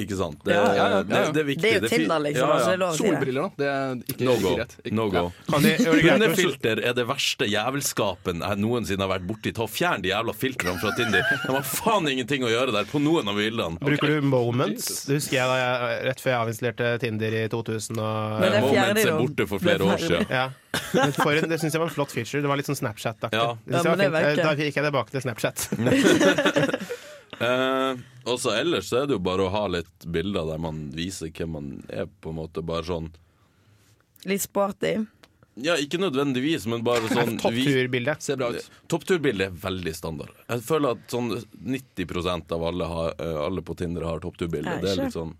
S4: Ikke sant? Det,
S3: Ja, ja, ja, ja.
S4: Det, det er viktig.
S2: Det er jo
S4: fi-
S2: Tinder, liksom.
S4: Ja, ja.
S2: Altså, det er lov å si det.
S3: Solbriller, da? Det er ikke,
S4: No
S3: ikke
S4: go.
S3: greit. Ikke,
S4: No go.
S1: Kan de- gjør det greit å-
S4: Hundefilter er det verste jævelskapen jeg noensinne har vært borti. Ta og Fjern de jævla filtrene fra Tinder. De har faen ingenting å gjøre der på noen av bildene.
S1: Bruker du moments? Det husker jeg da jeg, rett før jeg avinstallerte Tinder i 2000. Og,
S2: Men det fjerner
S4: Eh, Moments
S2: de
S4: er
S2: jo.
S4: borte for flere
S2: Det
S4: år siden.
S1: ja. Men for, en- det syns jeg var en flott feature. Det var litt sånn Snapchat-aktig.
S4: Ja.
S1: Det synes jeg
S2: Ja,
S1: var
S2: men det
S1: fint. Eh,
S2: verker.
S1: Da gikk jeg tilbake til Snapchat.
S4: Eh, og så ellers så er det jo bare å ha litt bilder der man viser hvem man er, på en måte. Bare sånn
S2: Litt sporty.
S4: Ja, ikke nødvendigvis, men bare sånn vi-
S1: Toppturbildet.
S3: Ser bra ut.
S4: Toppturbildet er veldig standard. Jeg føler at sånn 90 av alle, har, eh, alle på Tinder har toppturbilde.
S2: Er
S4: Det er
S2: ikke?
S4: litt sånn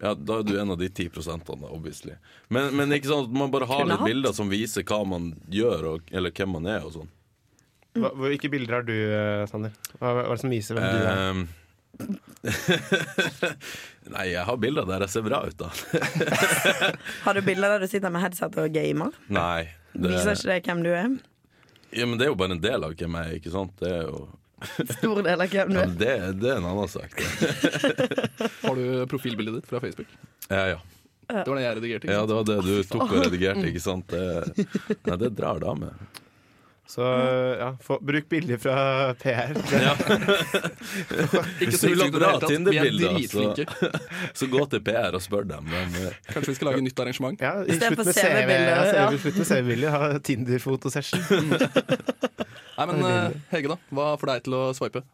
S4: ja, Da er du en av de 10 da, obviously. Men, men ikke sånn at man bare har
S2: Kunne
S4: litt
S2: hatt.
S4: bilder som viser hva man gjør, og, eller hvem man er og sånn.
S1: Hva, hvor- hvilke bilder har du, eh, Sander? Hva, hva er det som viser hvem du
S3: Eh.
S1: er?
S4: Ehm. Nei, jeg har bilder der jeg ser bra ut, da.
S2: Har du bilder der du sitter med headset og gamer?
S4: Nei. Det,
S2: Viser ikke det hvem du er?
S4: Ja, men det er jo bare en del av hvem jeg er, ikke sant? Det er jo
S2: Stor del av hvem du
S4: ja,
S2: er.
S4: det, det er en annen sak. det.
S3: Har du profilbildet ditt fra Facebook?
S4: Ja, ja.
S3: Det var det jeg redigerte. ikke
S4: ja,
S3: sant?
S4: det var det du tok og redigerte, ikke sant? Det, nei, det drar damer.
S1: Så ja, få, bruk bilder fra PR.
S3: Ikke
S4: Hvis du
S3: så usikker
S4: vil ha
S3: i det
S4: bra
S3: hele tatt. Vi
S4: Tinder-bilder,
S3: er
S4: altså.
S3: dritflinke.
S4: Så gå til PR og spør dem. De, eh,
S3: Kanskje vi skal lage nytt arrangement?
S1: Ja,
S2: I stedet
S1: slutt
S2: for
S1: med
S2: CV
S1: CV. Ja,
S2: bilder, ja.
S1: Slutt med CV-bilder. Ha Tinder-fotosession.
S3: Nei, men eh, Hege, da. Hva får deg til å swipe?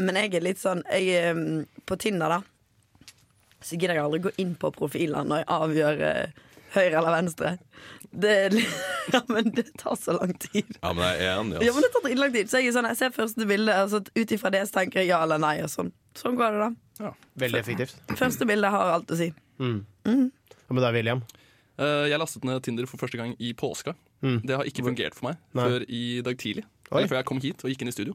S2: Men jeg er litt sånn jeg, um, På Tinder, da, så gidder jeg aldri gå inn på profilene når jeg avgjør eh, høyre eller venstre. Det, er li- ja, men det tar så lang tid.
S4: Ja, men jeg er enig,
S2: Ja, men
S4: altså.
S2: det tar lang tid. Så jeg, er sånn, jeg ser første bilde, og så ut ifra det så tenker jeg ja eller nei. Og sånn. sånn går det, da.
S1: Veldig effektivt.
S2: Første bilde har alt å si.
S1: Hva med deg, William?
S3: Eh, Jeg lastet ned Tinder for første gang i påska. Det har ikke fungert for meg
S1: Mm. Nei.
S3: før i dag tidlig.
S1: Oi.
S3: Eller før jeg kom hit og gikk inn i studio.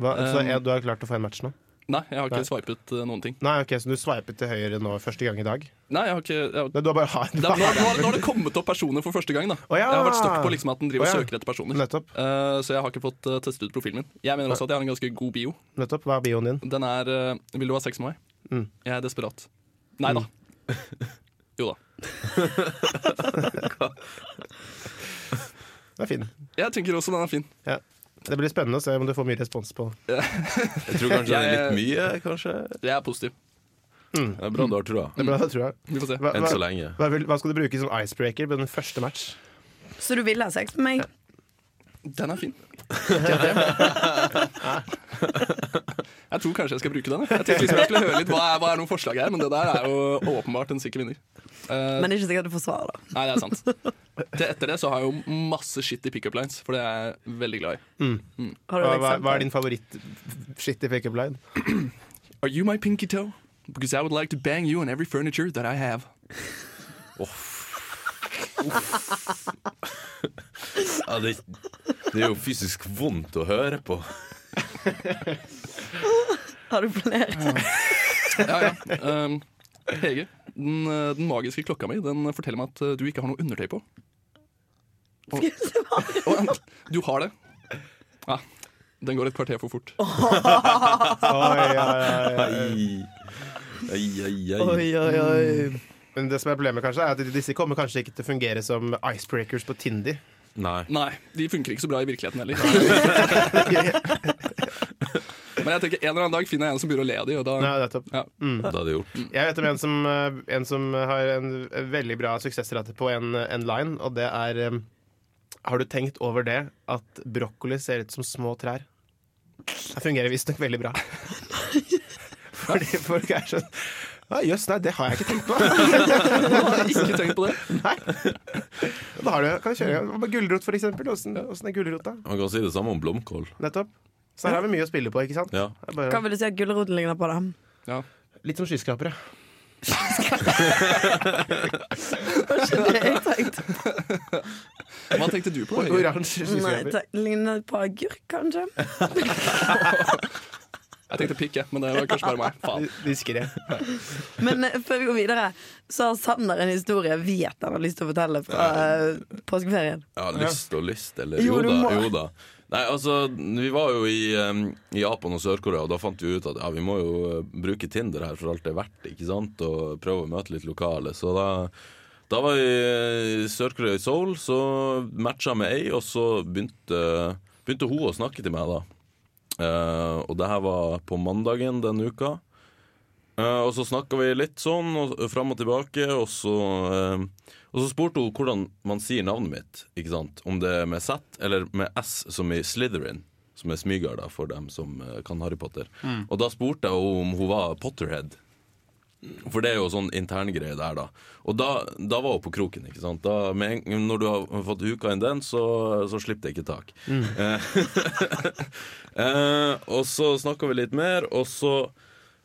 S1: Hva, så
S3: Um,
S1: ja, du har klart å få en match nå?
S3: Nei, jeg har ikke
S1: Nei.
S3: swipet eh, noen ting.
S1: Nei, ok, Så du sveipet til høyre nå første gang i dag?
S3: Nei, jeg har ikke jeg har,
S1: Nei, Du har bare har
S3: det, er- nå, nå, har- nå har det kommet opp personer for første gang. da
S1: Å ja.
S3: Jeg har vært støkk på liksom at den driver
S1: Å ja.
S3: og søker etter personer.
S1: Nettopp.
S3: Eh, så jeg har ikke fått eh, testet ut profilen min. Jeg mener også at jeg har en ganske god bio.
S1: nettopp. Hva er bioen din?
S3: Den er eh, 'Vil du ha sex med meg?'
S1: Mm.
S3: Jeg er desperat. Nei da. Jo da.
S1: Den er fin.
S3: Jeg tenker også den er fin.
S1: Ja. Det blir spennende å se om du får mye respons på
S4: Jeg tror kanskje det er litt
S3: Jeg-
S4: mye, kanskje.
S3: Jeg er positiv.
S4: Det er bra du har trua.
S1: det. Bra, tror jeg.
S3: Vi får se.
S1: Hva,
S4: Enn så
S1: hva,
S4: lenge.
S1: hva, vil, hva skal du bruke som icebreaker på den første match?
S2: Så du ville ha sex med meg?
S3: Den er fin. Jeg tror kanskje jeg skal bruke den. jeg. Jeg tenkte liksom jeg skulle høre litt Hva er, hva er noen forslag her, men det der er jo åpenbart en sikker vinner. Eh,
S2: Men det er ikke sikkert du får svar, da.
S3: nei, det er sant. Til etter det så har jeg jo masse shit i pickup lines, for det er jeg veldig glad i.
S2: Har du
S1: Hva, hva,
S2: et
S1: hva
S2: eksempel?
S1: er din favoritt-shit i pickup line?
S3: Are you my pinky toe? Because I would like to bang you on every furniture that I have.
S4: Ja, det, det er jo fysisk vondt å høre på.
S2: Har du flere?
S3: Ja, ja. Ehm, Hege, den, eh, den magiske klokka mi den forteller meg at eh, du ikke har noe undertøy på. Og, og, du har det. Ja, den går et kvarter for fort.
S1: Oi, oi, oi, oi.
S4: Ai, ai, ai, ai.
S2: Oi, oi, oi.
S1: Men det som er problemet kanskje er at disse kommer kanskje ikke til å fungere som icebreakers på Tinder.
S4: Nei.
S3: Nei, de funker ikke så bra i virkeligheten heller. Men jeg tenker en eller annen dag finner jeg en som begynner å le av de, og da
S1: Nei, nettopp.
S3: ja.
S4: Da er det gjort.
S1: Jeg vet om en som, eh, en som har en veldig bra suksessrate på en, en line, og det er eh, Har du tenkt over det at brokkoli ser ut som små trær? Det fungerer visstnok veldig bra. Fordi folk er sånn ja, Jøss, nei, det har jeg ikke tenkt på.
S3: Jeg har ikke tenkt på det.
S1: Nei. Da har du, kan du kjøre i gang. Hva med Gulrot, for eksempel. Åssen åssen er gulrota?
S4: Man kan si det samme om blomkål.
S1: Nettopp. Så her har vi mye å spille på, ikke sant?
S4: Ja.
S1: Det er bare-
S2: Hva vil du si at gulroten ligner på, da?
S3: Ja.
S1: Litt som skyskrapere.
S2: Kanskje det jeg tenkte.
S3: Hva tenkte du på? Hege?
S1: Oransje
S2: Nei, jeg
S1: skyskraper.
S2: tenkte- ligner på agurk, kanskje?
S3: Jeg tenkte pikk, jeg, men det var kanskje bare meg. Faen.
S1: Diskré.
S2: Men eh, før vi går videre, så har Sander en historie jeg vet han har lyst til å fortelle fra eh, påskeferien.
S4: Ja, lyst og lyst, eller
S2: Jo,
S4: jo,
S2: du
S4: da.
S2: må.
S4: Jo da. Nei, altså, vi var jo i, em, i Japan og Sør-Korea, og da fant vi ut at ja, vi må jo eh, bruke Tinder her for alt det er verdt, ikke sant, og prøve å møte litt lokale. Så da, da var vi eh, i Sør-Korea i Seoul, så matcha med ei, og så begynte, begynte hun å snakke til meg, da. Eh, og det her var på mandagen den uka. Eh, og så snakka vi litt sånn og, fram og tilbake, og så, eh, og så spurte hun hvordan man sier navnet mitt. Ikke sant? Om det er med Z eller med S, som i Slytherin, som er smygarda for dem som eh, kan Harry Potter. Og da spurte jeg henne om hun var Potterhead. For det er jo sånn interngreie der, da. Og da, da var hun på kroken, ikke sant. Da, med en, når du har fått huka inn den, så, så slipper det ikke tak. Eh, eh, og så snakka vi litt mer, og så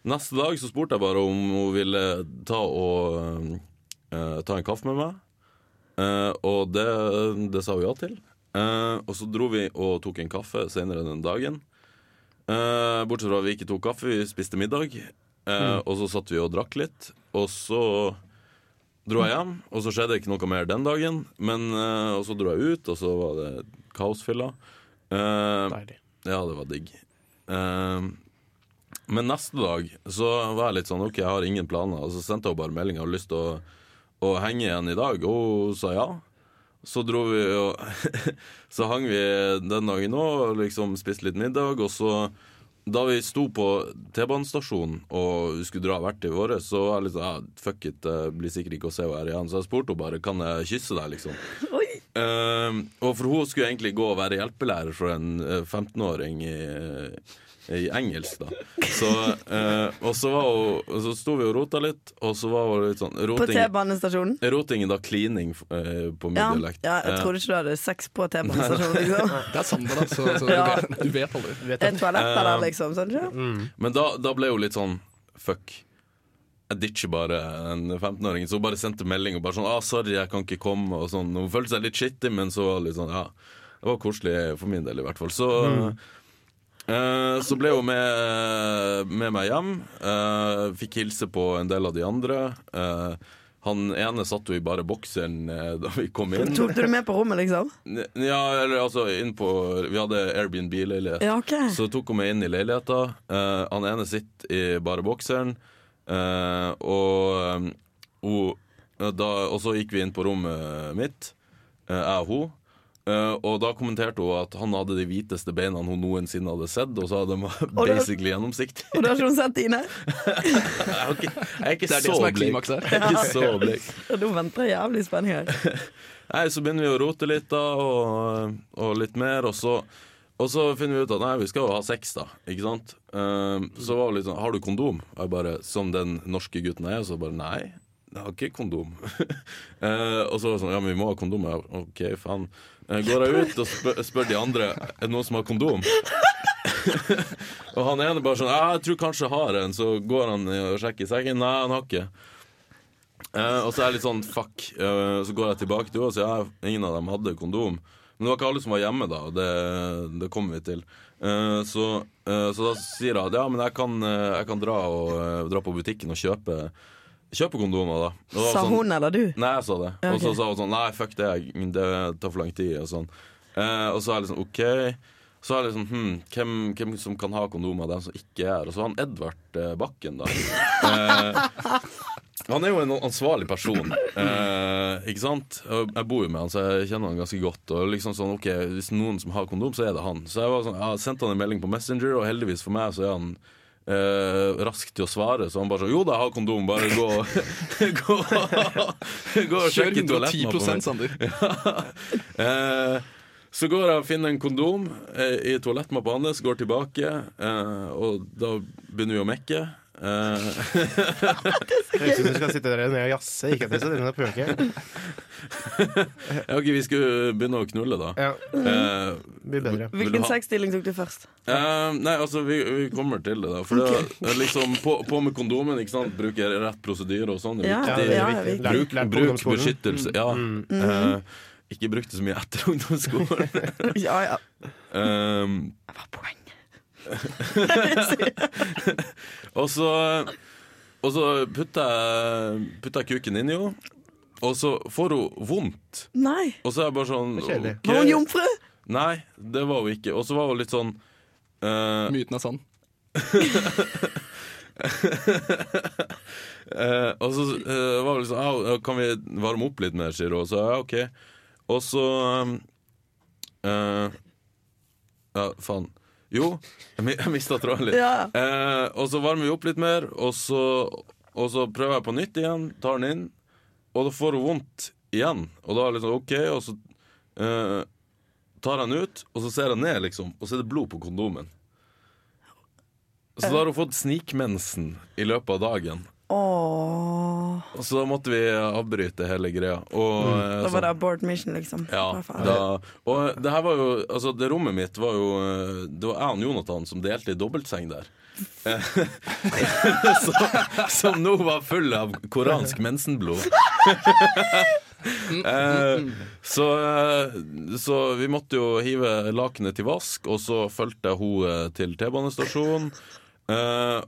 S4: neste dag så spurte jeg bare om hun ville ta og eh, ta en kaffe med meg. Eh, og det, det sa hun ja til. Eh, og så dro vi og tok en kaffe senere den dagen. Eh, bortsett fra at vi ikke tok kaffe, vi spiste middag. Eh, Og så satt vi og drakk litt. Og så dro jeg hjem, og så skjedde ikke noe mer den dagen. Men, eh, og så dro jeg ut, og så var det kaosfylla. Eh,
S1: Deilig.
S4: Ja, det var digg. Ehm, men neste dag så var jeg litt sånn OK, jeg har ingen planer. Og så sendte jeg henne bare melding. Jeg har lyst til å, å henge igjen i dag. Og hun sa ja. Så dro vi og Så hang vi den dagen òg og liksom spiste litt middag. Og så, da vi sto på T-banestasjonen og vi skulle dra hvert til våre, så var jeg litt sånn ja, Fuck it, jeg blir sikkert ikke å se henne her igjen. Så jeg spurte henne bare kan jeg kysse deg, liksom.
S2: Oi!
S4: Ehm, og for hun skulle egentlig gå og være hjelpelærer for en eh, 15-åring i, eh, i engelsk, da. Så, eh, og så, var hun, så sto vi og rota litt, og så var hun litt sånn
S2: På
S4: Roting,
S2: T-banestasjonen?
S4: roting er da cleaning eh, på min
S2: Ja.
S4: dialekt.
S2: ja, jeg
S4: Eh,
S2: trodde ikke du hadde sex på T-banestasjonen, liksom.
S3: Det er Sander, da, så, så
S2: Ja.
S3: du, vet, du vet aldri.
S1: Du vet
S2: Et
S1: at
S2: toalett der, liksom. Sånn, ikke?
S4: men da, da ble hun litt sånn Fuck. Jeg ditcher bare en 15-åring. Så hun bare sendte melding og bare sånn ah, 'Sorry, jeg kan ikke komme.' Og sånn. Hun følte seg litt skittig, men så var det litt sånn Ja, det var koselig for min del, i hvert fall. Så Eh, Så ble hun med, med meg hjem. eh, fikk hilse på en del av de andre. Eh, han ene satt jo i bare bokseren eh, da vi kom inn.
S2: Tok du det med på rommet, liksom?
S4: N- Ja, eller altså inn på Vi hadde Airbnb-leilighet.
S2: Ja, ok.
S4: Så tok hun meg inn i leiligheta. Eh, han ene sitter i bare bokseren. eh, og um, hun eh, da, Og så gikk vi inn på rommet mitt, eh, jeg og hun. Eh, og da kommenterte hun at han hadde de hviteste beina hun noensinne hadde sett, og så hadde de
S2: Og da-
S4: basically gjennomsiktig.
S2: Og da har ikke hun sett dine?
S4: Jeg er ikke, jeg er ikke
S3: Det er det
S4: så
S3: som er
S4: blek.
S3: klimaks her.
S4: Jeg er ikke så blek.
S2: Ja, Nå venter jeg jævlig spenning her.
S4: Nei, så begynner vi å rote litt da, og, og litt mer, og så, og så finner vi ut at nei, vi skal jo ha sex da, ikke sant? Ehm, så var det litt sånn, har du kondom? Og Jeg bare, som den norske gutten er, så bare nei, jeg har ikke kondom. Eh, og så var det sånn, ja, men vi må ha kondom. Jeg, ok, faen. Eh, går jeg ut og spør, spør de andre, er det noen som har kondom? og han ene bare sånn, ja, jeg tror kanskje jeg har en, så går han og sjekker i sekken. Nei, han har ikke. Eh, og så er jeg litt sånn fuck. Eh, så går jeg tilbake til henne og sier ja, ingen av dem hadde kondom. Men det var ikke alle som var hjemme, da. og Det, det kommer vi til. Eh, så, eh, så da sier jeg at ja, men jeg kan, eh, jeg kan dra, og, eh, dra på butikken og kjøpe, kjøpe kondomer, da. Og da var
S2: Sa
S4: sånn-
S2: hun eller du?
S4: Nei, jeg sa det.
S2: Ja,
S4: Og så
S2: ok.
S4: sa hun sånn Nei, fuck det, jeg- det tar for lang tid. Og sånn eh, Og så er jeg liksom OK. Så er jeg liksom hm, hvem, hvem som kan ha kondom av dem som ikke er Og så han Edvard eh, Bakken, da. Eh, han er jo en ansvarlig person, eh, ikke sant? Og Jeg bor jo med han, så jeg kjenner han ganske godt. Og liksom sånn, ok, Hvis noen som har kondom, så er det han. Så jeg var sånn, jeg sendte han en melding på Messenger, og heldigvis for meg så er han Eh, rask til å svare, så han bare sånn Jo da, jeg har kondom, bare gå Gå, gå og
S3: Kjør
S4: sjekk i toaletten.
S3: 110 Sander.
S4: Eh, så går jeg og finner en kondom eh, i toalettmappa hans, går tilbake, eh, og da begynner vi å mekke. Eh,
S1: Jeg syns du skal sitte der nede og jazze. Ikke at jeg sitter nede og pøker.
S4: ja, ok, vi skulle begynne å knulle, da.
S1: Ja,
S4: Eh,
S1: det blir bedre.
S4: Vil du
S2: Hvilken
S4: ha-
S2: sexstilling tok du først?
S4: eh, nei, altså, vi, vi kommer til det, da. For det er liksom på, på med kondomen, ikke sant. Bruke rett prosedyre og sånn. det er
S2: Ja,
S4: viktig.
S2: ja, Mm. det er viktig.
S4: Bruk,
S1: Lært på
S4: bruk
S1: ungdomsskolen.
S4: beskyttelse. Ja. Eh, ikke brukt det så mye etter ungdomsskolen.
S2: Ja, ja.
S4: um,
S2: Det var poeng.
S4: Og så, og så putta jeg, putta jeg kuken inn i henne, og så får hun vondt.
S2: Nei.
S4: Og så er jeg bare sånn
S1: Det er kjedelig.
S4: ok.
S2: Var hun jomfru?
S4: Nei, det var hun ikke. Og så var hun litt sånn eh,
S3: Myten er sann.
S4: eh, Og så eh, var hun litt sånn «Au, Kan vi varme opp litt mer, sier hun. Og så ja, OK. Og så eh, eh, Ja, faen. Jo, jeg mi- jeg mista tråden litt.
S2: Ja.
S4: Eh, og så varmer vi opp litt mer, og så, og så prøver jeg på nytt igjen. Tar den inn, og da får hun vondt igjen. Og da er det liksom OK, og så eh, tar jeg den ut, og så ser jeg ned, liksom, og så er det blod på kondomen. Så da har hun fått snikmensen i løpet av dagen.
S2: Åh.
S4: Og så da måtte vi avbryte hele greia. Og, eh,
S2: Mm. Da
S4: sånn-
S2: var det abort mission, liksom.
S4: ja,
S2: Hva faen?
S4: da, og det her var jo Altså, det rommet mitt var jo eh, Det var jeg og Jonathan som delte i dobbeltseng der. Eh, som, som nå var full av koransk mensenblod. Eh, så, eh, så vi måtte jo hive lakenet til vask, og så fulgte jeg henne eh, til T-banestasjonen. Eh,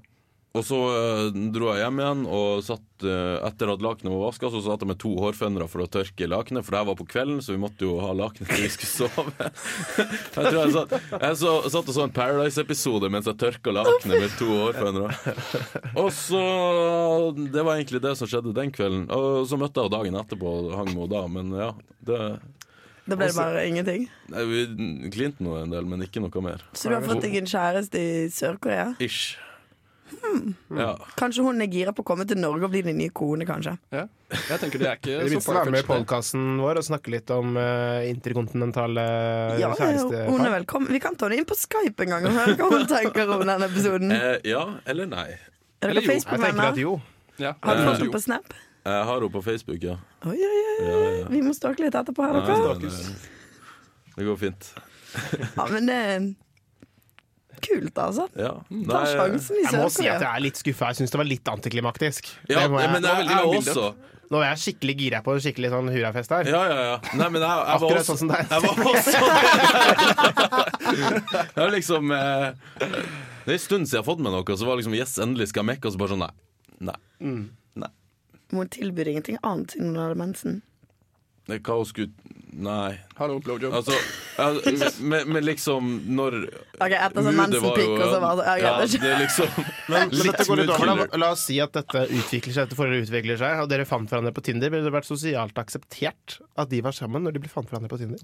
S4: Og så eh, dro jeg hjem igjen, og satt, eh, etter at lakenet var vaska, så satt jeg med to hårfønere for å tørke lakenet, for det her var på kvelden, så vi måtte jo ha lakenet til vi skulle sove. jeg tror jeg satt, jeg så, satt og så en Paradise-episode mens jeg tørka lakenet med to hårfønere. Og så Det var egentlig det som skjedde den kvelden. Og så møtte jeg henne dagen etterpå og hang med henne da, men ja. Det,
S2: Da ble det
S4: Altså-
S2: bare ingenting.
S4: nei, vi klinte nå en del, men ikke noe mer.
S2: Så du har fått deg en kjæreste i Sør-Korea?
S4: Ish. Ja.
S2: Kanskje hun er gira på å komme til Norge og bli din nye kone, kanskje.
S3: Ja. Jeg tenker det er
S1: Det er
S3: ikke
S1: vits å være med i
S3: far-fetched, det.
S1: podkasten vår og snakke litt om eh, interkontinentale eh,
S2: Ja, hun er
S1: kjærestepar.
S2: velkommen. Vi kan ta henne inn på Skype en gang og høre hva hun tenker om den episoden. Er
S4: Eh, ja eller nei.
S2: dere
S1: Jeg
S3: eller jo, jeg
S1: tenker at
S2: Facebook-venner?
S1: jo.
S3: Ja.
S2: Har du
S4: Eh,
S2: fått
S3: Jo.
S2: henne på Snap?
S4: Jeg har henne på Facebook, ja.
S2: Oi, oi, oi.
S4: ja, ja.
S2: Vi må snakke litt etterpå her,
S4: Nei,
S2: dere.
S4: nei, nei. eh, Det går fint.
S2: Ja, men det er kult, altså.
S4: Ja.
S2: Ta
S4: Nei,
S2: sjansen i
S1: Jeg må si at
S2: Sør-Korea.
S1: jeg er litt skuffa. Jeg syns det var litt antiklimaktisk.
S4: ja,
S1: det må jeg,
S4: men
S3: det var
S4: jeg,
S3: veldig
S4: jeg
S3: lang bilde.
S4: også.
S1: nå er jeg skikkelig gira på en skikkelig sånn hurrafest her.
S4: Ja, ja, ja. Nei, men jeg, jeg var
S1: Akkurat
S4: også
S1: sånn som deg.
S4: Jeg var også Jeg var liksom eh, Det er en stund siden jeg har fått meg noe, så var liksom Yes, endelig skal jeg mekke, og så bare sånn Nei. Nei. Nei.
S2: Hun tilbyr ingenting annet siden hun hadde mensen.
S4: Det er Hva hun skulle Nei.
S3: Hallo, blowjob.
S4: Altså, ja, men, men liksom når
S2: Ok, etter sånn
S4: Mood, det var
S2: mensenpikk,
S4: jo-
S2: og så var det- ja,
S4: Ja,
S2: greit, det er ikke-
S4: det er liksom
S1: Men, så
S4: Litt
S1: dette går litt over.
S4: smooth
S1: La, la oss si at dette utvikler seg etter forholdet utvikler seg, og dere fant hverandre på Tinder. Ville det vært sosialt akseptert at de var sammen når de ble fant hverandre på Tinder?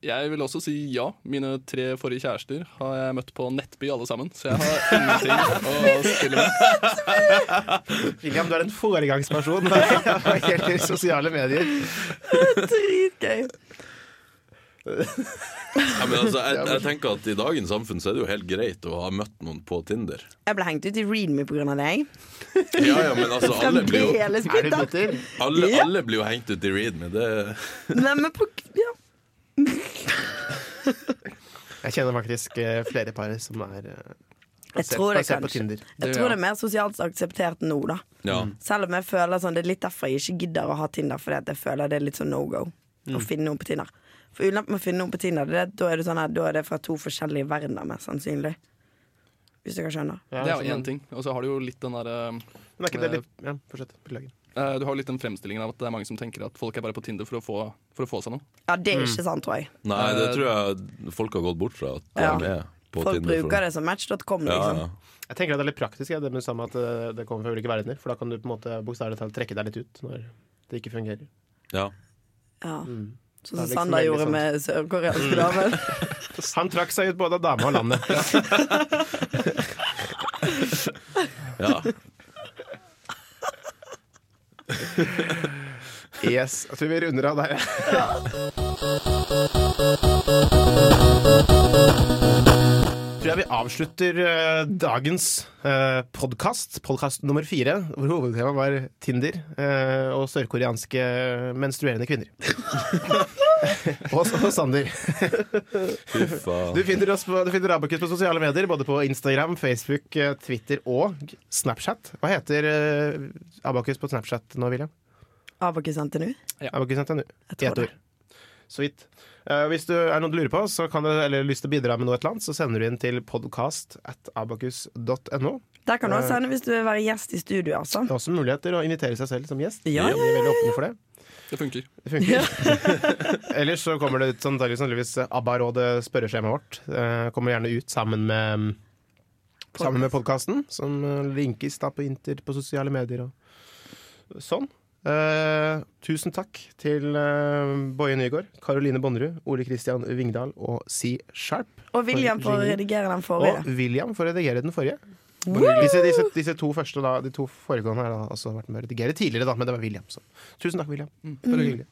S3: Jeg vil også si ja. Mine tre forrige kjærester har jeg møtt på Nettby alle sammen, så jeg har ingenting å stille med.
S1: William, du er en foregangsperson når det gjelder sosiale medier.
S2: Dritgøy.
S4: Ja, men altså, jeg, jeg tenker at I dagens samfunn så er det jo helt greit å ha møtt noen på Tinder.
S2: Jeg ble hengt ut i Readme pga. deg.
S4: Ja, ja, men altså, alle blir jo,
S2: Fremdeles
S1: Er du
S2: bitter.
S1: bitter?
S4: alle,
S2: Ja.
S4: alle blir jo hengt ut i Read med det.
S2: Nei, men på ja.
S1: Jeg kjenner faktisk eh, flere par som er eh,
S2: Jeg
S1: plassert-
S2: tror det
S1: plassert på
S2: kanskje.
S1: Tinder.
S2: Jeg
S3: Det,
S2: tror
S3: ja.
S2: det er mer sosialt akseptert nå, da.
S4: Ja.
S2: Selv om jeg føler sånn, det er litt derfor jeg ikke gidder å ha Tinder, fordi at jeg føler det er litt sånn no go
S4: Mm.
S2: å finne noen på Tinder. For ulempen med å finne noen på Tinder, det er, at da er det sånn her, da er det fra to forskjellige verdener, mest sannsynlig. Hvis dere skjønner.
S1: Ja,
S3: Det er jo
S1: sånn.
S3: én ting. Og så har du jo litt den derre
S1: Men er ikke det litt Ja, fortsett. Beklager.
S3: eh, Du har jo litt den fremstillingen av at det er mange som tenker at folk er bare på Tinder for å få, for å få seg noe.
S2: Ja, det
S4: Mm.
S2: er ikke sant, tror jeg.
S4: Nei, det tror jeg folk har gått bort fra. At de
S2: Ja.
S4: er på
S2: Folk
S4: Tinder.
S2: bruker det som match.com,
S4: Ja,
S2: liksom.
S4: ja.
S1: Jeg tenker at det er litt praktisk, jeg, det med samme at eh, det kommer fra ulike verdener. For da kan du på en måte bokstavelig talt trekke deg litt ut når det ikke fungerer.
S4: Ja.
S2: Ja. Sånn
S1: Det er
S2: som
S1: liksom
S2: Sander
S1: veldig
S2: gjorde
S1: sant.
S2: med
S4: Mm.
S2: sørkoreanske damer.
S1: Han trakk seg ut både av dame og landet.
S4: ja.
S1: Yes, Jeg tror vi runder av der. tror jeg vi avslutter eh, dagens uh, podkast, podkast nummer fire, hvor hovedtemaet var Tinder eh, og sørkoreanske menstruerende kvinner. og så Sander.
S4: Fy
S1: Du
S4: faen.
S1: finner, oss på, du finner Abakus på sosiale medier, både på Instagram, Facebook, eh, Twitter og Snapchat. Hva heter eh, Abakus på Snapchat nå, William?
S2: Abakus NTNU.
S1: Abakus NTNU.
S2: Jeg
S1: I
S2: tror
S1: ett
S2: det.
S1: ord. Så vidt. Eh, hvis du er noe du lurer på, så kan du, eller lyst til å bidra med noe, et eller annet, så sender du inn til podcast at abakus.no.
S2: Der kan du også sende hvis du vil være gjest i studio, altså.
S1: Det er også muligheter å invitere seg selv som gjest.
S2: Ja, ja,
S1: Vi er veldig åpne for det.
S3: Det funker.
S1: Det funker. Ellers så kommer det ut sånn, antagelig sannsynligvis ABBA-rådet spørreskjemaet vårt. Eh, kommer gjerne ut sammen med mm, Sammen med podkasten, som eh, linkes da på Inter på sosiale medier og sånn. Eh, tusen takk til eh, Boje Nygaard, Karoline Bonnerud, Ole Kristian Vingdal og C Sharp.
S2: Og William for å redigere den
S1: Og
S2: forrige.
S1: William for å redigere den forrige. Disse, disse, disse to første da, De to foregående har da også vært med å redigere tidligere, da, men det var William. Så. Tusen takk, William. Bare hyggelig.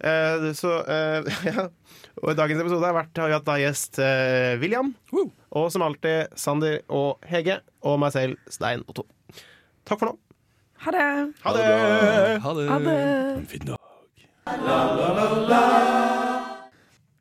S1: Eh, så, eh, ja. Og i dagens episode har, vært, har vi hatt da gjest eh, William.
S3: Woo.
S1: Og som alltid Sander og Hege. Og meg selv, Stein Otto. Takk for nå.
S2: Ha det.
S4: Ha det bra.
S3: Ha det.
S2: Ha det.
S4: Fin dag.